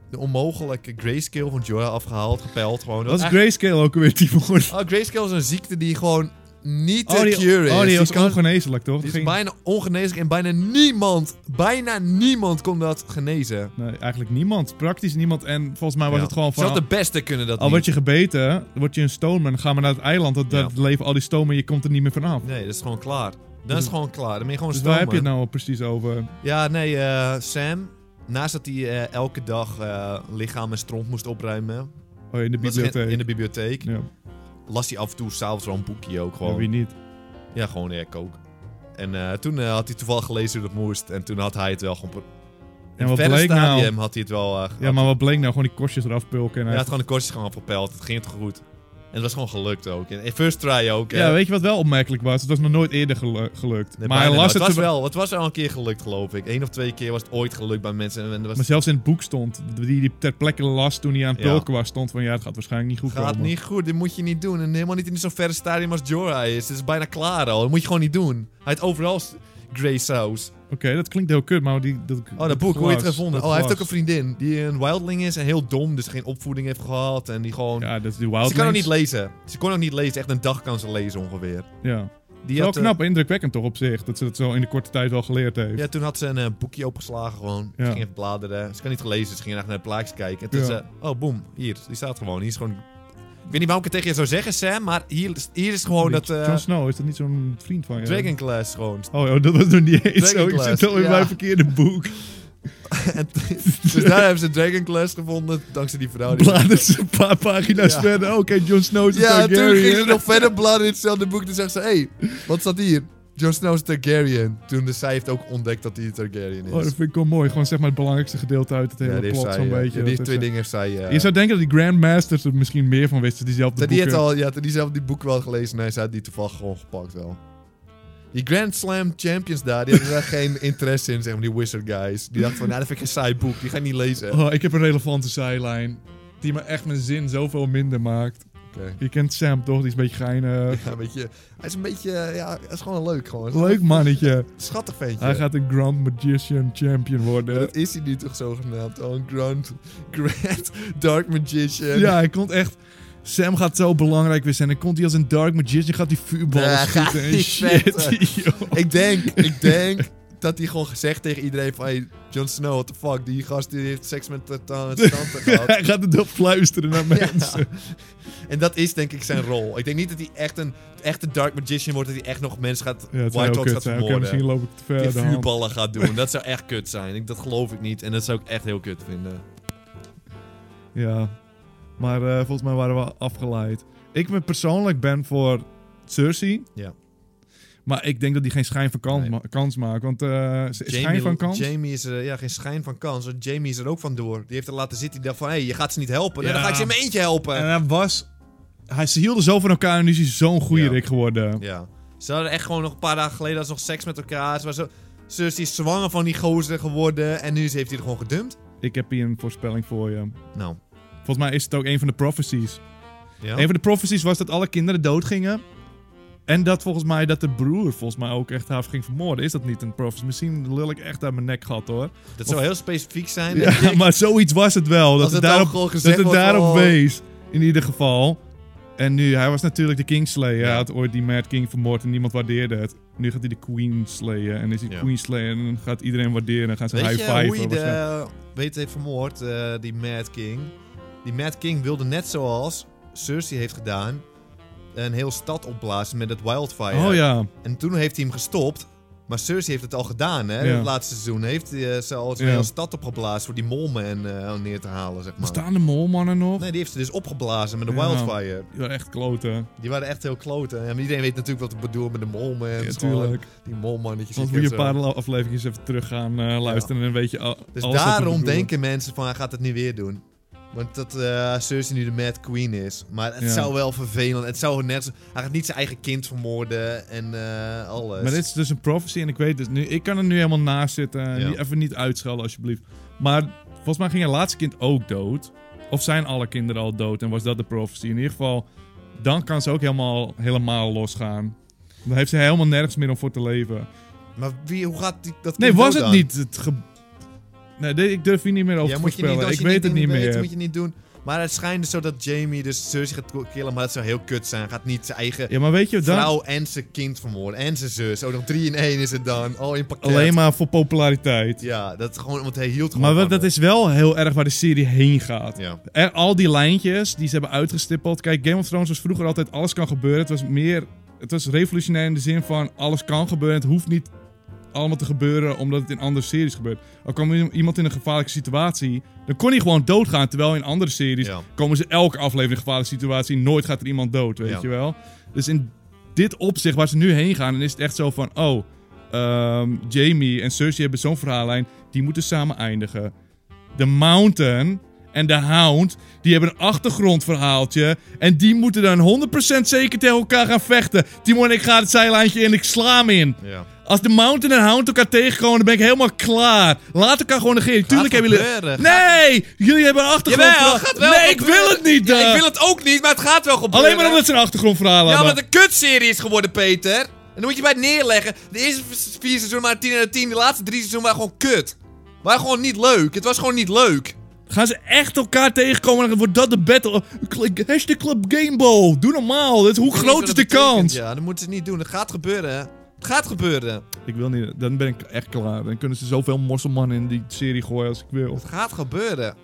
Speaker 2: de onmogelijke grayscale van Jorah afgehaald, gepeld. Gewoon.
Speaker 1: Wat is
Speaker 2: Eigenlijk-
Speaker 1: grayscale ook weer, Timon?
Speaker 2: Oh, grayscale is een ziekte die gewoon niet te
Speaker 1: Oh, die,
Speaker 2: cure is.
Speaker 1: oh, die was
Speaker 2: kan-
Speaker 1: ongeneeslijk, toch?
Speaker 2: die is
Speaker 1: Ging-
Speaker 2: bijna ongeneeslijk en bijna niemand, bijna niemand kon dat genezen.
Speaker 1: Nee, eigenlijk niemand. Praktisch niemand. En volgens mij was
Speaker 2: Ja.
Speaker 1: het gewoon van... Oh,
Speaker 2: Zelfs de beste kunnen dat
Speaker 1: Al
Speaker 2: niet.
Speaker 1: word je gebeten, dan word je een stoneman. Dan gaan we naar het eiland. Dat, dat
Speaker 2: Ja.
Speaker 1: leven al die stomen. Je komt er niet meer vanaf.
Speaker 2: Nee, dat is gewoon klaar. Dat is
Speaker 1: Dus-
Speaker 2: gewoon klaar. Dan ben je gewoon
Speaker 1: Dus
Speaker 2: een
Speaker 1: waar heb je het
Speaker 2: stoomman.
Speaker 1: nou precies over?
Speaker 2: Ja, nee, eh, Sam, naast dat hij eh, elke dag eh, lichaam en stront moest opruimen...
Speaker 1: Oh, in de
Speaker 2: was hij
Speaker 1: bibliotheek.
Speaker 2: In de bibliotheek.
Speaker 1: Ja,
Speaker 2: Las hij af en toe s'avonds wel een boekje ook
Speaker 1: ja,
Speaker 2: gewoon.
Speaker 1: wie niet?
Speaker 2: Ja, gewoon ja, ik ook. En eh, toen eh, had hij toevallig gelezen hoe dat moest. En toen had hij het wel gewoon...
Speaker 1: En
Speaker 2: In
Speaker 1: wat
Speaker 2: het verre
Speaker 1: bleek nou?
Speaker 2: stadium had hij het wel... eh,
Speaker 1: Ja, maar wat bleek nou? Gewoon die korstjes eraf pulken. En
Speaker 2: Hij
Speaker 1: hij-
Speaker 2: had gewoon de kortjes gewoon verpeld. Het ging toch goed. En het was gewoon gelukt ook. En first try ook. hè.
Speaker 1: ja, weet je wat wel opmerkelijk was? Het was nog nooit eerder gelu- gelukt.
Speaker 2: Nee,
Speaker 1: maar hij
Speaker 2: bijna
Speaker 1: las het...
Speaker 2: nooit. het was
Speaker 1: te-
Speaker 2: wel. Het was wel een keer gelukt, geloof ik. Eén of twee keer was het ooit gelukt bij mensen. En dat
Speaker 1: Maar
Speaker 2: was,
Speaker 1: zelfs in het boek stond, die, die ter plekke las toen hij aan het
Speaker 2: Ja.
Speaker 1: pulken was, stond van ja, het gaat waarschijnlijk niet goed
Speaker 2: gaat
Speaker 1: komen.
Speaker 2: niet goed. Dit moet je niet doen. En helemaal niet in zo'n verre stadium als Jorah is. Het is bijna klaar al. Dat moet je gewoon niet doen. Hij heeft overal s- grey saus.
Speaker 1: Oké, dat klinkt heel kut, maar die, dat,
Speaker 2: Oh, dat boek. Hoe je het
Speaker 1: glas,
Speaker 2: gevonden?
Speaker 1: dat
Speaker 2: Oh, hij heeft ook
Speaker 1: glas.
Speaker 2: een vriendin die een wildling is en heel dom. Dus geen opvoeding heeft gehad. En die gewoon...
Speaker 1: Ja, dat is die
Speaker 2: Ze kan ook
Speaker 1: Wildlings.
Speaker 2: niet lezen. Ze kon ook niet lezen. Echt een dag kan ze lezen ongeveer.
Speaker 1: Ja.
Speaker 2: Die
Speaker 1: wel
Speaker 2: had, eh,
Speaker 1: knap, indrukwekkend toch op zich, dat ze dat zo in de korte tijd wel geleerd heeft.
Speaker 2: Ja, toen had ze een eh, boekje opengeslagen gewoon.
Speaker 1: Ja.
Speaker 2: Ze ging even bladeren. Ze kan niet gelezen, ze ging echt naar de plaatjes kijken. En toen
Speaker 1: Ja.
Speaker 2: ze, oh boem, hier, die staat gewoon. Hier is gewoon... Ik weet niet waarom ik het tegen je zou zeggen, Sam, maar hier, is- hier is
Speaker 1: Die
Speaker 2: gewoon dat... eh
Speaker 1: Jon Snow, is dat niet zo'n vriend van je?
Speaker 2: Dragon Class gewoon.
Speaker 1: Oh, oh, dat was nog niet eens zo. Ik
Speaker 2: Dragon
Speaker 1: zit
Speaker 2: Class,
Speaker 1: al in
Speaker 2: ja.
Speaker 1: mijn verkeerde boek.
Speaker 2: En t- dus daar hebben ze Dragon Class gevonden, dankzij die vrouw. die-
Speaker 1: Bladeren ze een paar pagina's
Speaker 2: Ja.
Speaker 1: verder. Oh, Oké, Jon Snow is een
Speaker 2: Ja, en toen ging ze
Speaker 1: Targaryen.
Speaker 2: nog verder bladeren in hetzelfde boek. Toen zegt ze, hé, hey, wat staat hier? Jon Snow is Targaryen. Toen dus zij heeft ook ontdekt dat hij Targaryen is.
Speaker 1: Oh, dat vind ik wel mooi. Gewoon zeg maar het belangrijkste gedeelte uit het
Speaker 2: Ja,
Speaker 1: hele
Speaker 2: die heeft
Speaker 1: plot,
Speaker 2: zij,
Speaker 1: zo'n
Speaker 2: eh,
Speaker 1: beetje.
Speaker 2: ja, die
Speaker 1: Dat is,
Speaker 2: twee
Speaker 1: eh,
Speaker 2: dingen heeft zij... eh,
Speaker 1: Je zou denken dat die Grandmasters er misschien meer van wisten, diezelfde
Speaker 2: Dat die
Speaker 1: boeken.
Speaker 2: had al, ja, die zelf die boek wel gelezen. Nee, ze had die toevallig gewoon gepakt wel. Die Grand Slam Champions daar, die hadden daar geen interesse in, zeg maar, die wizard guys. Die dachten van, nou, dat vind ik een saai boek, die ga ik niet lezen. Oké.
Speaker 1: Oh, ik heb een relevante zijlijn. Die me echt mijn zin zoveel minder maakt. Je kent Sam toch? Die is een beetje geinig.
Speaker 2: Ja, een beetje, hij is een beetje, eh, ja, hij is gewoon leuk gewoon.
Speaker 1: Leuk mannetje.
Speaker 2: Schattig ventje.
Speaker 1: Hij gaat een Grand Magician Champion
Speaker 2: Maar
Speaker 1: worden.
Speaker 2: Dat is hij nu toch zogenaamd? Oh, een grand, grand dark magician.
Speaker 1: Ja, hij komt echt. Sam gaat zo belangrijk weer zijn. Dan komt hij als een Dark Magician, gaat hij vuurballen
Speaker 2: Nee, hij
Speaker 1: schieten
Speaker 2: gaat
Speaker 1: en
Speaker 2: niet
Speaker 1: shit.
Speaker 2: vechten.
Speaker 1: joh.
Speaker 2: Ik denk, ik denk dat hij gewoon gezegd tegen iedereen van... Hey, Jon Snow, what the fuck? Die gast die heeft seks met de ta- tante gehad.
Speaker 1: Hij gaat het nog fluisteren naar
Speaker 2: Ja.
Speaker 1: mensen.
Speaker 2: En dat is denk ik zijn rol. Ik denk niet dat hij echt een echte Dark Magician wordt. Dat hij echt nog mensen gaat...
Speaker 1: Ja, het zou
Speaker 2: White
Speaker 1: ook
Speaker 2: Dogs
Speaker 1: kut
Speaker 2: gaat
Speaker 1: zijn. Oké,
Speaker 2: vermoorden.
Speaker 1: misschien loop ik te ver.
Speaker 2: die
Speaker 1: de hand.
Speaker 2: vuurballen gaat doen. Dat zou echt kut zijn. Ik- Dat geloof ik niet. En dat zou ik echt heel kut vinden.
Speaker 1: Ja. Maar eh, volgens mij waren we afgeleid. Ik ben persoonlijk ben voor Cersei.
Speaker 2: Ja.
Speaker 1: Maar ik denk dat die geen schijn van kans,
Speaker 2: Nee.
Speaker 1: ma- kans maakt. Want eh, ze- schijn van kans?
Speaker 2: Jamie is er ja, geen schijn van kans. want Jamie is er ook van door. Die heeft er laten zitten. Die dacht van, hé, je gaat ze niet helpen. Nou,
Speaker 1: Ja.
Speaker 2: dan ga ik ze in mijn eentje helpen.
Speaker 1: En hij was... Hij, ze hielden zo van elkaar en nu is hij zo'n goede
Speaker 2: Ja.
Speaker 1: rik geworden.
Speaker 2: Ja. Ze hadden echt gewoon nog een paar dagen geleden hadden ze nog seks met elkaar. Ze was zo... Zus is zwanger van die gozer geworden. En nu heeft hij er gewoon gedumpt.
Speaker 1: Ik heb hier een voorspelling voor je.
Speaker 2: Nou,
Speaker 1: Volgens mij is het ook een van de prophecies.
Speaker 2: ja.
Speaker 1: Een van de prophecies was dat alle kinderen doodgingen. En dat volgens mij dat de broer volgens mij ook echt haar ging vermoorden. Is dat niet een prophecy? Misschien lul ik echt uit mijn nek gehad hoor.
Speaker 2: dat zou heel specifiek zijn. denk
Speaker 1: Ja,
Speaker 2: ik.
Speaker 1: maar zoiets was het wel. Dat
Speaker 2: Als
Speaker 1: het
Speaker 2: het ook
Speaker 1: daarop,
Speaker 2: gewoon
Speaker 1: dat
Speaker 2: gezegd
Speaker 1: het
Speaker 2: wordt van,
Speaker 1: daarop
Speaker 2: oh.
Speaker 1: wees. In ieder geval. En nu, hij was natuurlijk de Kingslayer. Hij
Speaker 2: Ja.
Speaker 1: had ooit die Mad King vermoord en niemand waardeerde het. Nu gaat hij de Queen slayen. En is hij
Speaker 2: Ja.
Speaker 1: Queen slayer en dan gaat iedereen waarderen. En gaan ze
Speaker 2: Weet
Speaker 1: high
Speaker 2: je hoe
Speaker 1: five.
Speaker 2: hij de, weet heeft vermoord, eh, die Mad King? Die Mad King wilde net zoals Cersei heeft gedaan... een heel stad opblazen met dat wildfire.
Speaker 1: Oh ja.
Speaker 2: En toen heeft hij hem gestopt. Maar Cersei heeft het al gedaan, hè?
Speaker 1: Ja.
Speaker 2: Het laatste seizoen heeft hij eh, ze al een
Speaker 1: Ja.
Speaker 2: hele stad opgeblazen... voor die molmen eh neer te halen, zeg maar.
Speaker 1: Bestaan de molmannen nog?
Speaker 2: Nee, die heeft ze dus opgeblazen met een
Speaker 1: Ja.
Speaker 2: wildfire.
Speaker 1: Die waren echt kloten.
Speaker 2: Die waren echt heel kloten. Ja, maar iedereen weet natuurlijk wat ik bedoel met de molmen.
Speaker 1: Ja,
Speaker 2: Het is gewoon
Speaker 1: tuurlijk.
Speaker 2: Die molmannetjes.
Speaker 1: Want
Speaker 2: die
Speaker 1: moet je
Speaker 2: zo.
Speaker 1: een paar afleveringen even terug gaan eh, luisteren. En dan weet je al,
Speaker 2: Dus
Speaker 1: alles wat we
Speaker 2: daarom
Speaker 1: bedoelen.
Speaker 2: denken mensen van hij gaat het niet weer doen. Want dat eh Cersei nu de Mad Queen is. Maar het
Speaker 1: Ja.
Speaker 2: zou wel vervelend. Het zou net zo- Hij gaat niet zijn eigen kind vermoorden en eh, alles.
Speaker 1: Maar dit is dus een prophecy en ik weet het nu. Ik kan er nu helemaal naast zitten. en
Speaker 2: Ja.
Speaker 1: niet- Even niet uitschelden alsjeblieft. Maar volgens mij ging haar laatste kind ook dood. Of zijn alle kinderen al dood en was dat de prophecy? In ieder geval, dan kan ze ook helemaal, helemaal losgaan. Dan heeft ze helemaal nergens meer om voor te leven.
Speaker 2: Maar wie, hoe gaat die, dat
Speaker 1: Nee,
Speaker 2: kind
Speaker 1: was
Speaker 2: dood
Speaker 1: het
Speaker 2: dan?
Speaker 1: niet. Het ge- nee, dit- ik durf hier niet meer over
Speaker 2: Ja,
Speaker 1: te
Speaker 2: moet je niet,
Speaker 1: voorspellen.
Speaker 2: als
Speaker 1: ik
Speaker 2: je
Speaker 1: weet het niet
Speaker 2: dingen
Speaker 1: meer.
Speaker 2: weet, moet je niet doen. Maar het schijnt dus zo dat Jamie dus Cersei gaat killen. Maar dat zou heel kut zijn. Hij gaat niet zijn eigen
Speaker 1: Ja, maar weet je, dan
Speaker 2: vrouw en zijn kind vermoorden. En zijn zus. Oh, nog drie in één is het dan. Al in pakket.
Speaker 1: alleen maar voor populariteit.
Speaker 2: Ja, dat is gewoon... Want hij hield gewoon
Speaker 1: Maar
Speaker 2: van
Speaker 1: wat, dat
Speaker 2: hem.
Speaker 1: is wel heel erg waar de serie heen gaat.
Speaker 2: Ja.
Speaker 1: Er, al die lijntjes die ze hebben uitgestippeld. Kijk, Game of Thrones was vroeger altijd alles kan gebeuren. Het was meer. Het was revolutionair in de zin van alles kan gebeuren. Het hoeft niet allemaal te gebeuren omdat het in andere series gebeurt. Al kwam i- iemand in een gevaarlijke situatie, dan kon hij gewoon doodgaan. Terwijl in andere series
Speaker 2: Ja.
Speaker 1: komen ze elke aflevering in een gevaarlijke situatie. Nooit gaat er iemand dood, weet
Speaker 2: Ja.
Speaker 1: je wel. Dus in dit opzicht waar ze nu heen gaan, dan is het echt zo van... Oh, ehm, Jamie en Cersei hebben zo'n verhaallijn. Die moeten samen eindigen. De Mountain en de Hound, die hebben een achtergrondverhaaltje. En die moeten dan 100% zeker tegen elkaar gaan vechten. Timon en ik gaan het zijlijntje in, ik sla hem in.
Speaker 2: Ja.
Speaker 1: Als de Mountain en Hound elkaar tegenkomen, dan ben ik helemaal klaar. Laat elkaar gewoon negeren. Tuurlijk hebben jullie...
Speaker 2: gebeuren,
Speaker 1: Nee! Jullie hebben een achtergrondverhaal.
Speaker 2: Jawel, gaat wel
Speaker 1: nee, ik
Speaker 2: gebeuren.
Speaker 1: wil het niet.
Speaker 2: Ja,
Speaker 1: eh.
Speaker 2: ik wil het ook niet, maar het gaat wel gebeuren.
Speaker 1: Alleen maar omdat ze een achtergrondverhaal
Speaker 2: Ja,
Speaker 1: hebben.
Speaker 2: omdat het een kutserie is geworden, Peter. En dan moet je bij het neerleggen. De eerste v- vier seizoenen waren 10 uit 10. De laatste drie seizoenen waren gewoon kut. Waren gewoon niet leuk. Het was gewoon niet leuk.
Speaker 1: Gaan ze echt elkaar tegenkomen en dan wordt dat de battle? Klik- Hashtag Club Gameball. Doe normaal. Dit- hoe groot is de kans?
Speaker 2: Ja, dat moeten ze niet doen. Het gaat gebeuren. Het gaat gebeuren.
Speaker 1: Ik wil niet. Dan ben ik echt klaar. Dan kunnen ze zoveel mosselmannen in die serie gooien als ik wil.
Speaker 2: Het gaat gebeuren.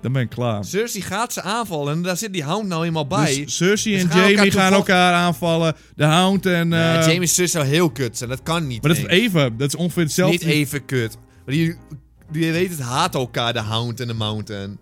Speaker 1: Dan ben ik klaar.
Speaker 2: Cersei gaat ze aanvallen en daar zit die hound nou eenmaal bij.
Speaker 1: Dus Cersei
Speaker 2: Dus
Speaker 1: en
Speaker 2: gaan elkaar
Speaker 1: Jamie gaan
Speaker 2: toevallig-
Speaker 1: elkaar aanvallen. De Hound en... eh,
Speaker 2: Ja, Jamie's zus zou heel kut zijn. Dat kan niet.
Speaker 1: Maar dat is
Speaker 2: nee.
Speaker 1: even. Dat is ongeveer hetzelfde.
Speaker 2: Niet even kut. Maar die, die weet het, haat elkaar, de hound en de mountain.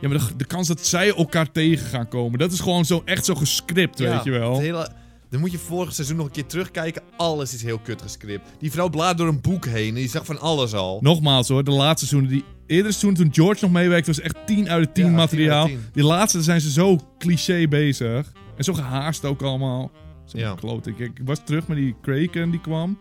Speaker 1: Ja, maar de, de kans dat zij elkaar tegen gaan komen. Dat is gewoon zo, echt zo gescript,
Speaker 2: Ja,
Speaker 1: weet je wel.
Speaker 2: het hele- dan moet je vorig seizoen nog een keer terugkijken. Alles is heel kut gescript. Die vrouw blaad door een boek heen en die zag van alles al.
Speaker 1: Nogmaals hoor, de laatste seizoenen. Die eerdere seizoen toen George nog meewerkte was echt 10 uit de 10
Speaker 2: Ja,
Speaker 1: materiaal.
Speaker 2: 10 uit 10.
Speaker 1: Die laatste zijn ze zo cliché bezig. En zo gehaast ook allemaal. Zo
Speaker 2: Ja.
Speaker 1: kloot. Ik, ik was terug met die Kraken die kwam.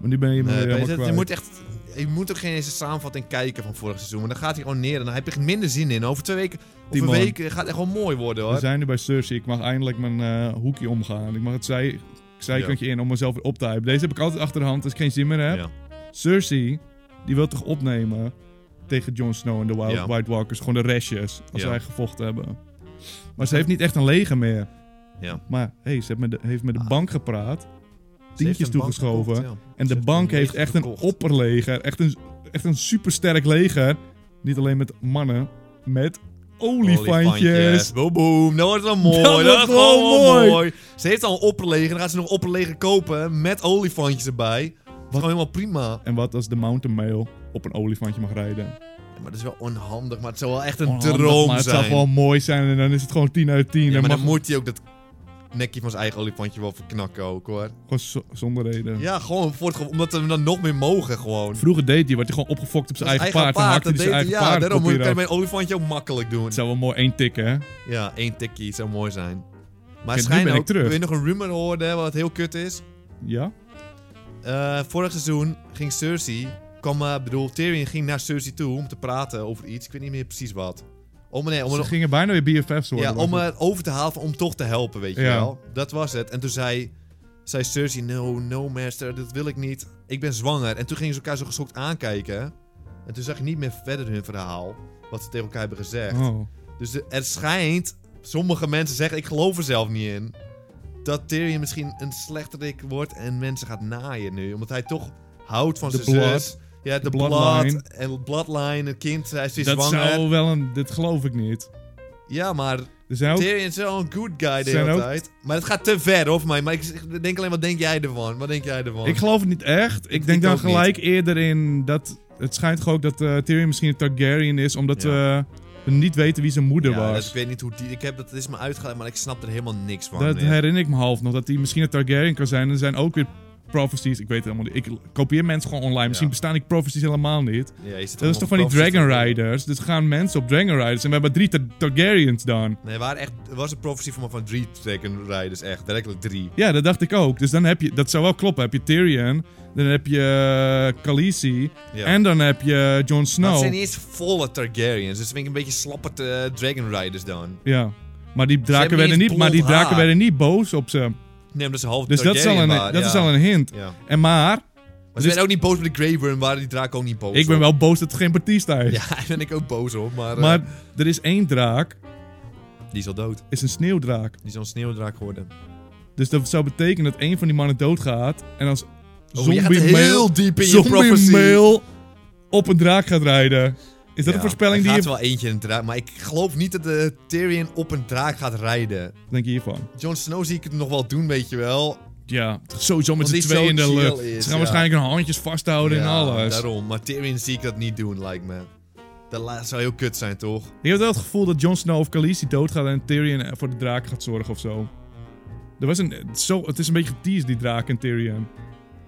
Speaker 1: Maar nu ben je me
Speaker 2: Nee,
Speaker 1: weer
Speaker 2: Peter,
Speaker 1: helemaal
Speaker 2: het-
Speaker 1: kwijt.
Speaker 2: je moet echt... Je moet ook geen eens een samenvatting kijken van vorig seizoen. Want dan gaat hij gewoon neer en dan heb je er minder zin in. Over twee weken... Over
Speaker 1: Timon.
Speaker 2: een week gaat het echt gewoon mooi worden,
Speaker 1: We
Speaker 2: hoor.
Speaker 1: zijn nu bij Cersei. Ik mag eindelijk mijn eh, hoekje omgaan. Ik mag het zij, zijkantje in om mezelf weer op te hypen. Deze heb ik altijd achter de hand als ik geen zin meer heb.
Speaker 2: Ja.
Speaker 1: Cersei, die wil toch opnemen tegen Jon Snow en de Wild
Speaker 2: Ja.
Speaker 1: White Walkers. Gewoon de restjes, als
Speaker 2: Ja.
Speaker 1: zij gevochten hebben. Maar ze heeft niet echt een leger meer.
Speaker 2: Ja. Ah.
Speaker 1: Maar hey, ze heeft met de, heeft met de bank gepraat. tientjes toegeschoven. En de
Speaker 2: heeft
Speaker 1: bank
Speaker 2: een
Speaker 1: heeft
Speaker 2: leger
Speaker 1: echt een
Speaker 2: gekocht.
Speaker 1: opperleger. Echt een, echt een supersterk leger. Niet alleen met mannen, met olifantjes.
Speaker 2: Boom, boom. Dat wordt wel mooi.
Speaker 1: Dat
Speaker 2: Dat,
Speaker 1: wordt
Speaker 2: wordt
Speaker 1: wel
Speaker 2: gewoon mooi.
Speaker 1: mooi.
Speaker 2: Ze heeft al een opperleger. Dan gaat ze nog een opperleger kopen met olifantjes erbij. Dat is gewoon helemaal prima.
Speaker 1: En wat als de mountain mail op een olifantje mag rijden?
Speaker 2: Ja, maar dat is wel onhandig. Maar het zou wel echt een
Speaker 1: Onhandig,
Speaker 2: droom
Speaker 1: maar het
Speaker 2: zijn.
Speaker 1: zou wel mooi zijn en dan is het gewoon 10 uit 10.
Speaker 2: Ja,
Speaker 1: dan
Speaker 2: maar
Speaker 1: mag
Speaker 2: dan moet hij ook dat nekje van zijn eigen olifantje wel verknakken ook hoor.
Speaker 1: gewoon zo- zonder reden.
Speaker 2: Ja, gewoon voor het ge- omdat we dan nog meer mogen gewoon.
Speaker 1: Vroeger deed hij, werd hij gewoon opgefokt op zijn eigen, paard. Dan hakte hij
Speaker 2: dat
Speaker 1: zijn
Speaker 2: deed-
Speaker 1: eigen
Speaker 2: ja,
Speaker 1: paard
Speaker 2: daarom
Speaker 1: op
Speaker 2: moet
Speaker 1: hieraf.
Speaker 2: kan je mijn olifantje ook makkelijk doen.
Speaker 1: Het zou wel mooi één tikken, hè?
Speaker 2: Ja, één tikkie zou mooi zijn. Maar
Speaker 1: Kijk, nu
Speaker 2: schijn
Speaker 1: ben ik
Speaker 2: ook,
Speaker 1: terug.
Speaker 2: wil je nog een rumor horen wat heel kut is?
Speaker 1: Ja?
Speaker 2: Eh, vorig seizoen ging Cersei, kwam, eh, bedoel, Tyrion ging naar Cersei toe om te praten over iets, ik weet niet meer precies wat. Om, nee, om,
Speaker 1: Ze gingen bijna weer BFF's worden.
Speaker 2: ja,
Speaker 1: was
Speaker 2: om
Speaker 1: het.
Speaker 2: het over te halen van om toch te helpen, weet je
Speaker 1: Ja.
Speaker 2: wel. Dat was het. En toen zei, zei Cersei, no, no master, dat wil ik niet. Ik ben zwanger. En toen gingen ze elkaar zo geschokt aankijken. En toen zag je niet meer verder hun verhaal, wat ze tegen elkaar hebben gezegd.
Speaker 1: Oh.
Speaker 2: Dus de- er schijnt, sommige mensen zeggen, ik geloof er zelf niet in, dat Tyrion misschien een slechterik wordt en mensen gaat naaien nu. Omdat hij toch houdt van
Speaker 1: De
Speaker 2: zijn zus. Ja, de
Speaker 1: bloodline.
Speaker 2: blood en bloodline, een kind, hij is weer
Speaker 1: Dat
Speaker 2: zwanger.
Speaker 1: zou wel een... Dit geloof ik niet.
Speaker 2: Ja, maar
Speaker 1: Er zijn ook...
Speaker 2: Tyrion is wel een good guy de
Speaker 1: Zijn
Speaker 2: hele
Speaker 1: ook-
Speaker 2: tijd. Maar het gaat te ver, hoor, voor mij. Maar ik denk alleen, wat denk jij ervan? Wat denk jij ervan?
Speaker 1: Ik geloof het niet echt. Ik
Speaker 2: ik
Speaker 1: denk dan
Speaker 2: ook niet.
Speaker 1: gelijk eerder in dat... Het schijnt gewoon ook dat eh, Tyrion misschien een Targaryen is, omdat eh, we niet weten wie zijn moeder
Speaker 2: ja, dat,
Speaker 1: was.
Speaker 2: ik weet niet hoe die... Ik heb dat, het is me uitgelegd, maar ik snap er helemaal niks van.
Speaker 1: Dat
Speaker 2: meer.
Speaker 1: herinner ik me half nog, dat hij misschien een Targaryen kan zijn. Er zijn ook weer prophecies, ik weet het helemaal niet. Ik kopieer mensen gewoon online, misschien
Speaker 2: Ja.
Speaker 1: bestaan die prophecies helemaal niet.
Speaker 2: Ja, je
Speaker 1: Dat
Speaker 2: zit
Speaker 1: is
Speaker 2: allemaal
Speaker 1: toch van die
Speaker 2: prophecies
Speaker 1: Dragon
Speaker 2: te-
Speaker 1: Riders? Dus gaan mensen op Dragon Riders en we hebben drie Tar- Targaryens dan.
Speaker 2: Nee, er, waren echt, er was een prophecy van, van drie Dragon Riders, echt. Werkelijk drie.
Speaker 1: Ja, dat dacht ik ook. Dus dan heb je, dat zou wel kloppen. Heb je Tyrion, dan heb je eh, Khaleesi
Speaker 2: Ja.
Speaker 1: en dan heb je Jon
Speaker 2: Maar
Speaker 1: Snow.
Speaker 2: het zijn niet eens volle Targaryens, dus dat vind ik een beetje slappe eh, Dragon Riders dan.
Speaker 1: Ja. Maar die draken,
Speaker 2: hebben
Speaker 1: werden
Speaker 2: niet
Speaker 1: niet, maar die
Speaker 2: blond
Speaker 1: draken
Speaker 2: haar.
Speaker 1: werden niet boos op ze.
Speaker 2: Nee, omdat ze half
Speaker 1: Dus dat, is al,
Speaker 2: Targaryen
Speaker 1: een,
Speaker 2: waren,
Speaker 1: dat
Speaker 2: ja.
Speaker 1: is al een hint.
Speaker 2: Ja.
Speaker 1: En maar,
Speaker 2: Maar
Speaker 1: Dus-
Speaker 2: ze werden ook niet boos op de Grey Worm, waren die draken ook niet boos
Speaker 1: ik ben
Speaker 2: op.
Speaker 1: wel boos dat het geen Batista is.
Speaker 2: Ja, daar ben ik ook boos op, maar, eh,
Speaker 1: Maar er is één draak,
Speaker 2: die is al dood.
Speaker 1: is een sneeuwdraak.
Speaker 2: Die is al een sneeuwdraak geworden.
Speaker 1: Dus dat zou betekenen dat één van die mannen doodgaat. En als
Speaker 2: Oh,
Speaker 1: zombie
Speaker 2: je gaat heel
Speaker 1: male,
Speaker 2: diep in je
Speaker 1: zombie
Speaker 2: prophecy.
Speaker 1: male op een draak gaat rijden. Is dat
Speaker 2: Ja,
Speaker 1: een voorspelling
Speaker 2: er
Speaker 1: die je...
Speaker 2: gaat wel eentje in een draak, maar ik geloof niet dat de Tyrion op een draak gaat rijden.
Speaker 1: Wat denk je hiervan?
Speaker 2: Jon Snow zie ik het nog wel doen, weet je wel.
Speaker 1: Ja, sowieso met
Speaker 2: Want
Speaker 1: z'n
Speaker 2: die
Speaker 1: tweeën in de
Speaker 2: zo chill
Speaker 1: lucht.
Speaker 2: is,
Speaker 1: Ze gaan
Speaker 2: ja.
Speaker 1: waarschijnlijk hun handjes vasthouden en
Speaker 2: Ja,
Speaker 1: alles.
Speaker 2: daarom. Maar Tyrion zie ik dat niet doen, lijkt me. Dat la- zou heel kut zijn, toch?
Speaker 1: Ik heb wel het gevoel dat Jon Snow of Khaleesi doodgaat en Tyrion eh, voor de draak gaat zorgen of zo. Er was een, eh, zo, het is een beetje geteased, die draak en Tyrion.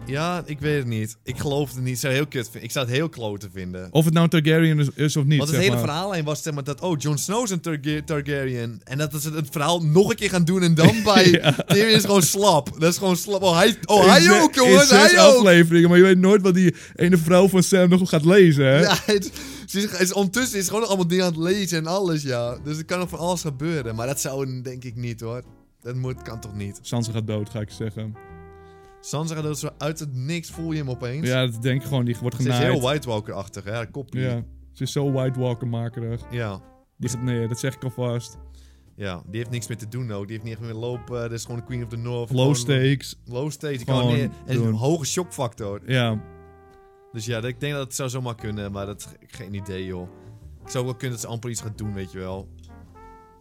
Speaker 2: Ja, ik weet het niet. Ik geloof het niet. Zou heel kut vinden. Ik zou het heel klote vinden.
Speaker 1: Of het nou een Targaryen is, is of niet,
Speaker 2: Want het
Speaker 1: zeg
Speaker 2: hele
Speaker 1: maar.
Speaker 2: verhaallijn was zeg maar dat, oh, Jon Snow is een Targa- Targaryen. En dat ze het verhaal nog een keer gaan doen en dan bij Tyrion is gewoon slap. Dat is gewoon slap. Oh, hij, oh,
Speaker 1: In
Speaker 2: hij
Speaker 1: ze-
Speaker 2: ook, jongens.
Speaker 1: In zes
Speaker 2: Hij ook.
Speaker 1: afleveringen, maar je weet nooit wat die ene vrouw van Sam nog gaat lezen, hè?
Speaker 2: Ja, het, ze is, is- ondertussen is gewoon allemaal dingen aan het lezen en alles, ja. Dus er kan nog van alles gebeuren. Maar dat zou een- denk ik niet, hoor. Dat moet, kan toch niet.
Speaker 1: Sansa gaat dood, ga ik zeggen.
Speaker 2: Sansa gaat ook zo uit het niks, voel je hem opeens.
Speaker 1: Ja, dat denk ik gewoon, die wordt
Speaker 2: Ze is heel
Speaker 1: genaaid.
Speaker 2: White Walker-achtig, hè. Haar kop niet.
Speaker 1: Ja, ze is zo White Walker-makerig.
Speaker 2: ja.
Speaker 1: Die gaat neer, dat zeg ik alvast.
Speaker 2: Ja, die heeft niks meer te doen ook. Die heeft niet echt meer lopen. Dat is gewoon de Queen of the North.
Speaker 1: Low
Speaker 2: Gewoon-
Speaker 1: stakes.
Speaker 2: Low stakes. Die
Speaker 1: Gewoon
Speaker 2: kan neer. En
Speaker 1: doen.
Speaker 2: een hoge shockfactor.
Speaker 1: Ja,
Speaker 2: Dus ja, dat- ik denk dat het zou zomaar kunnen. Maar dat geen idee, joh. Ik zou ook wel kunnen dat ze amper iets gaat doen, weet je wel.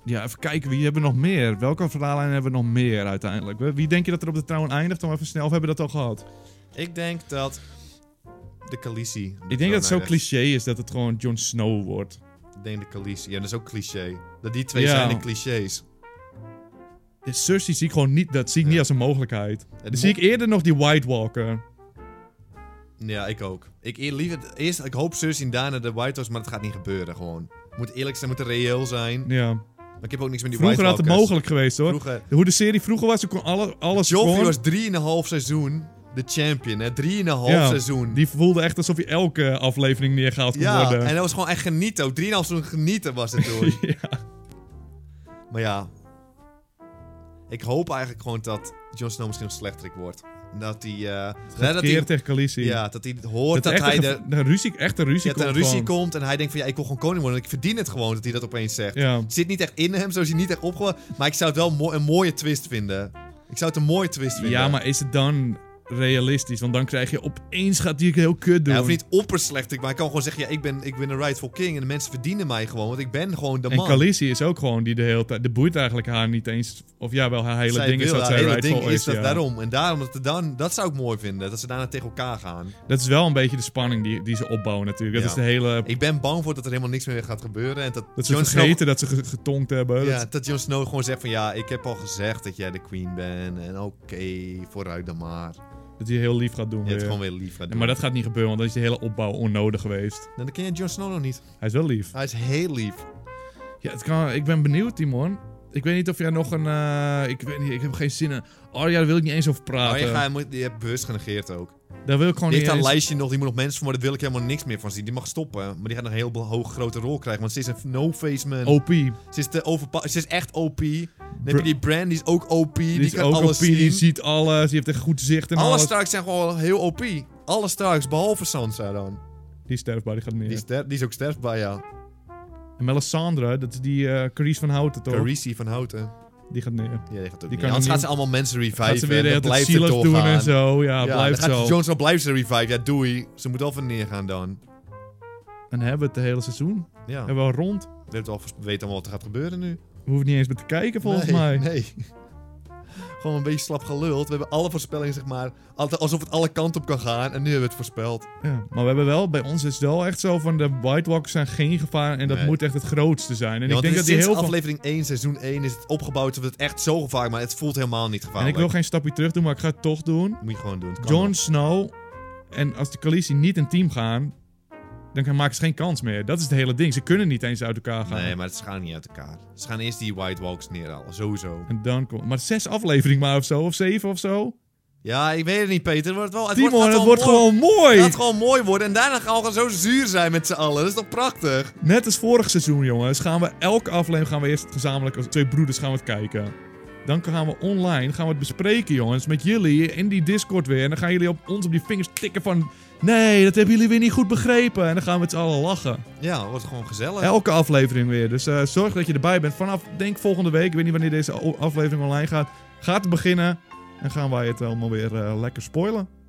Speaker 1: Ja, even kijken, wie hebben we nog meer? Welke verhaallijnen hebben we nog meer uiteindelijk? Wie- Wie denk je dat er op de trouwen eindigt? Om even snel, of hebben we dat al gehad?
Speaker 2: Ik denk dat... De Khaleesi.
Speaker 1: Ik denk dat het zo
Speaker 2: Nee,
Speaker 1: cliché is dat het gewoon Jon Snow wordt.
Speaker 2: Ik denk de Khaleesi. Ja, dat is ook cliché. Dat die twee
Speaker 1: Ja.
Speaker 2: zijn de clichés.
Speaker 1: De Cersei zie ik gewoon niet, dat zie ik niet als een mogelijkheid. Dan zie ik eerder nog die White Walker.
Speaker 2: Ja, ik ook. Ik eer- liever... Eerst, ik hoop Cersei en daarna de White House, maar dat gaat niet gebeuren, gewoon. Moet eerlijk zijn, moet reëel zijn.
Speaker 1: Ja.
Speaker 2: Maar ik heb ook niks met die
Speaker 1: Vroeger had
Speaker 2: White
Speaker 1: het
Speaker 2: Walkers.
Speaker 1: mogelijk geweest hoor.
Speaker 2: Vroeger...
Speaker 1: Hoe de serie vroeger was, ze kon alle, alles
Speaker 2: Joffrey
Speaker 1: gewoon-
Speaker 2: was 3,5 seizoen de champion, hè? 3,5
Speaker 1: Ja,
Speaker 2: seizoen.
Speaker 1: Die voelde echt alsof je elke aflevering neergehaald kon
Speaker 2: ja,
Speaker 1: worden.
Speaker 2: en dat was gewoon echt genieten. ook. 3,5 seizoen genieten was het toen.
Speaker 1: ja.
Speaker 2: maar ja, ik hoop eigenlijk gewoon dat Jon Snow misschien een slechterik wordt. Dat hij... eh, ja, dat
Speaker 1: Keer
Speaker 2: hij
Speaker 1: tegen Khaleesi.
Speaker 2: ja, dat hij hoort dat,
Speaker 1: echt
Speaker 2: hij
Speaker 1: een
Speaker 2: de,
Speaker 1: gev- een ruzie, echt een ruzie
Speaker 2: dat er een
Speaker 1: komt
Speaker 2: ruzie
Speaker 1: gewoon.
Speaker 2: komt en hij denkt van ja, ik wil gewoon koning worden. want Ik verdien het gewoon dat hij dat opeens zegt.
Speaker 1: Ja.
Speaker 2: Het zit niet echt in hem, zo is hij niet echt opgewacht. Maar ik zou het wel mo- een mooie twist vinden. Ik zou het een mooie twist vinden.
Speaker 1: Ja, maar is het dan realistisch. Want dan krijg je opeens gaat hij heel kut doen.
Speaker 2: Ja, of niet opperslecht, maar ik kan gewoon zeggen, ja, ik ben, ik ben een rightful king en de mensen verdienen mij gewoon, want ik ben gewoon de
Speaker 1: en
Speaker 2: man.
Speaker 1: Khaleesi is ook gewoon die de hele tijd... De boeit eigenlijk haar niet eens... Of ja, wel haar hele
Speaker 2: Zij
Speaker 1: ding is
Speaker 2: wil-
Speaker 1: dat
Speaker 2: haar
Speaker 1: zij
Speaker 2: hele ding
Speaker 1: rightful
Speaker 2: is
Speaker 1: is.
Speaker 2: dat
Speaker 1: ja.
Speaker 2: daarom. En daarom dat, er dan, dat zou ik mooi vinden, dat ze daarna tegen elkaar gaan.
Speaker 1: Dat is wel een beetje de spanning die, die ze opbouwen natuurlijk. Dat
Speaker 2: Ja.
Speaker 1: is de hele...
Speaker 2: Ik ben bang voor dat er helemaal niks meer gaat gebeuren en dat,
Speaker 1: Dat ze
Speaker 2: Jon Snow-
Speaker 1: vergeten dat ze ge- getonkt hebben.
Speaker 2: Ja,
Speaker 1: Dat-
Speaker 2: dat Jon Snow gewoon zegt van ja, ik heb al gezegd dat jij de queen bent en oké, vooruit dan maar.
Speaker 1: Dat hij heel lief gaat doen
Speaker 2: Je
Speaker 1: weer.
Speaker 2: hebt gewoon weer lief. gaat
Speaker 1: Ja,
Speaker 2: doen.
Speaker 1: maar dat gaat niet gebeuren, want dan is die hele opbouw onnodig geweest.
Speaker 2: Nou, dan ken je Jon Snow nog niet.
Speaker 1: Hij is wel lief.
Speaker 2: Hij is heel lief.
Speaker 1: Ja, het kan, ik ben benieuwd, Timon. Ik weet niet of jij nog een... eh, ik, weet niet, ik heb geen zin in... Oh ja, daar wil ik niet eens over
Speaker 2: Maar
Speaker 1: praten.
Speaker 2: je, gaat, hem- je hebt bewust genegeerd ook.
Speaker 1: Daar wil ik gewoon
Speaker 2: Die
Speaker 1: Oh, niet
Speaker 2: heeft een
Speaker 1: eens...
Speaker 2: lijstje nog, die moet nog mensen voor, maar daar wil ik helemaal niks meer van zien. Die mag stoppen, maar die gaat nog een heel hoge grote rol krijgen. Want ze is een no-face man.
Speaker 1: OP.
Speaker 2: Ze, is de overpa- ze is echt OP. Dan heb je die Brand, die is ook OP. Die,
Speaker 1: Die is
Speaker 2: kan
Speaker 1: ook
Speaker 2: alles
Speaker 1: OP, die
Speaker 2: zien.
Speaker 1: ziet alles, die heeft echt goed zicht en
Speaker 2: Alle
Speaker 1: alles.
Speaker 2: Starks zijn gewoon heel OP. Alle Starks, behalve Sansa dan.
Speaker 1: Die is sterfbaar, die gaat neer.
Speaker 2: Die, is ster- die is ook sterfbaar,
Speaker 1: Oh.
Speaker 2: ja.
Speaker 1: En Melisandre, dat is die eh Carice van Houten toch?
Speaker 2: Carisi van Houten.
Speaker 1: Die gaat neer.
Speaker 2: Ja, die gaat ook
Speaker 1: Die
Speaker 2: niet.
Speaker 1: kan
Speaker 2: Anders
Speaker 1: niet-
Speaker 2: gaat ze allemaal mensen reviven.
Speaker 1: Gaat ze weer de hele
Speaker 2: dat
Speaker 1: tijd
Speaker 2: blijft het
Speaker 1: zielig doen
Speaker 2: doorgaan.
Speaker 1: en zo. Ja,
Speaker 2: Ja,
Speaker 1: blijft
Speaker 2: dan gaat
Speaker 1: zo.
Speaker 2: Jon Snow blijft ze revive. Ja, doei. Ze moet wel van neergaan dan.
Speaker 1: En hebben we het de hele seizoen.
Speaker 2: Ja.
Speaker 1: Hebben we al rond.
Speaker 2: We hebben het al- we weten allemaal wat er gaat gebeuren nu.
Speaker 1: We hoeven niet eens meer te kijken volgens
Speaker 2: nee,
Speaker 1: mij.
Speaker 2: Nee. Gewoon een beetje slap geluld. We hebben alle voorspellingen, zeg maar. altijd Alsof het alle kanten op kan gaan. En nu hebben we het voorspeld.
Speaker 1: Ja, maar we hebben wel, bij ons is het wel echt zo van de White Walkers zijn geen gevaar en dat
Speaker 2: Nee.
Speaker 1: moet echt het grootste zijn. En
Speaker 2: Ja,
Speaker 1: ik
Speaker 2: want
Speaker 1: denk
Speaker 2: het
Speaker 1: dat
Speaker 2: is
Speaker 1: die
Speaker 2: sinds
Speaker 1: heel veel...
Speaker 2: aflevering 1, seizoen 1 is het opgebouwd. Of het echt zo gevaarlijk, maar het voelt helemaal niet
Speaker 1: En
Speaker 2: gevaarlijk.
Speaker 1: ik wil geen stapje terug doen, maar ik ga het toch doen.
Speaker 2: Moet je gewoon doen. het kan
Speaker 1: Jon
Speaker 2: wel.
Speaker 1: Snow en als de Khaleesi niet in team gaan, dan kan- maken ze geen kans meer. Dat is het hele ding. Ze kunnen niet eens uit elkaar gaan.
Speaker 2: Nee, maar het gaan niet uit elkaar. Ze gaan eerst die White Walks neerhalen. Sowieso.
Speaker 1: En dan komt... Maar zes afleveringen maar of zo, of zeven of zo.
Speaker 2: Ja, ik weet het niet, Peter. Het wordt wel... Het
Speaker 1: Timon,
Speaker 2: wordt, gaat
Speaker 1: het
Speaker 2: wel
Speaker 1: wordt
Speaker 2: mooi-
Speaker 1: gewoon mooi!
Speaker 2: Het gaat gewoon mooi worden. En daarna gaan we gewoon zo zuur zijn met z'n allen. Dat is toch prachtig?
Speaker 1: Net als vorig seizoen, jongens, gaan we elke aflevering gaan we eerst gezamenlijk als twee broeders gaan we het kijken. Dan gaan we online gaan we het bespreken, jongens, met jullie in die Discord weer. En dan gaan jullie op ons op die vingers tikken van... Nee, dat hebben jullie weer niet goed begrepen. En dan gaan we met z'n allen lachen.
Speaker 2: Ja, het wordt gewoon gezellig.
Speaker 1: Elke aflevering weer. Dus eh, zorg dat je erbij bent. Vanaf, denk volgende week, ik weet niet wanneer deze o- aflevering online gaat. Gaat het beginnen. En gaan wij het allemaal weer eh, lekker spoilen.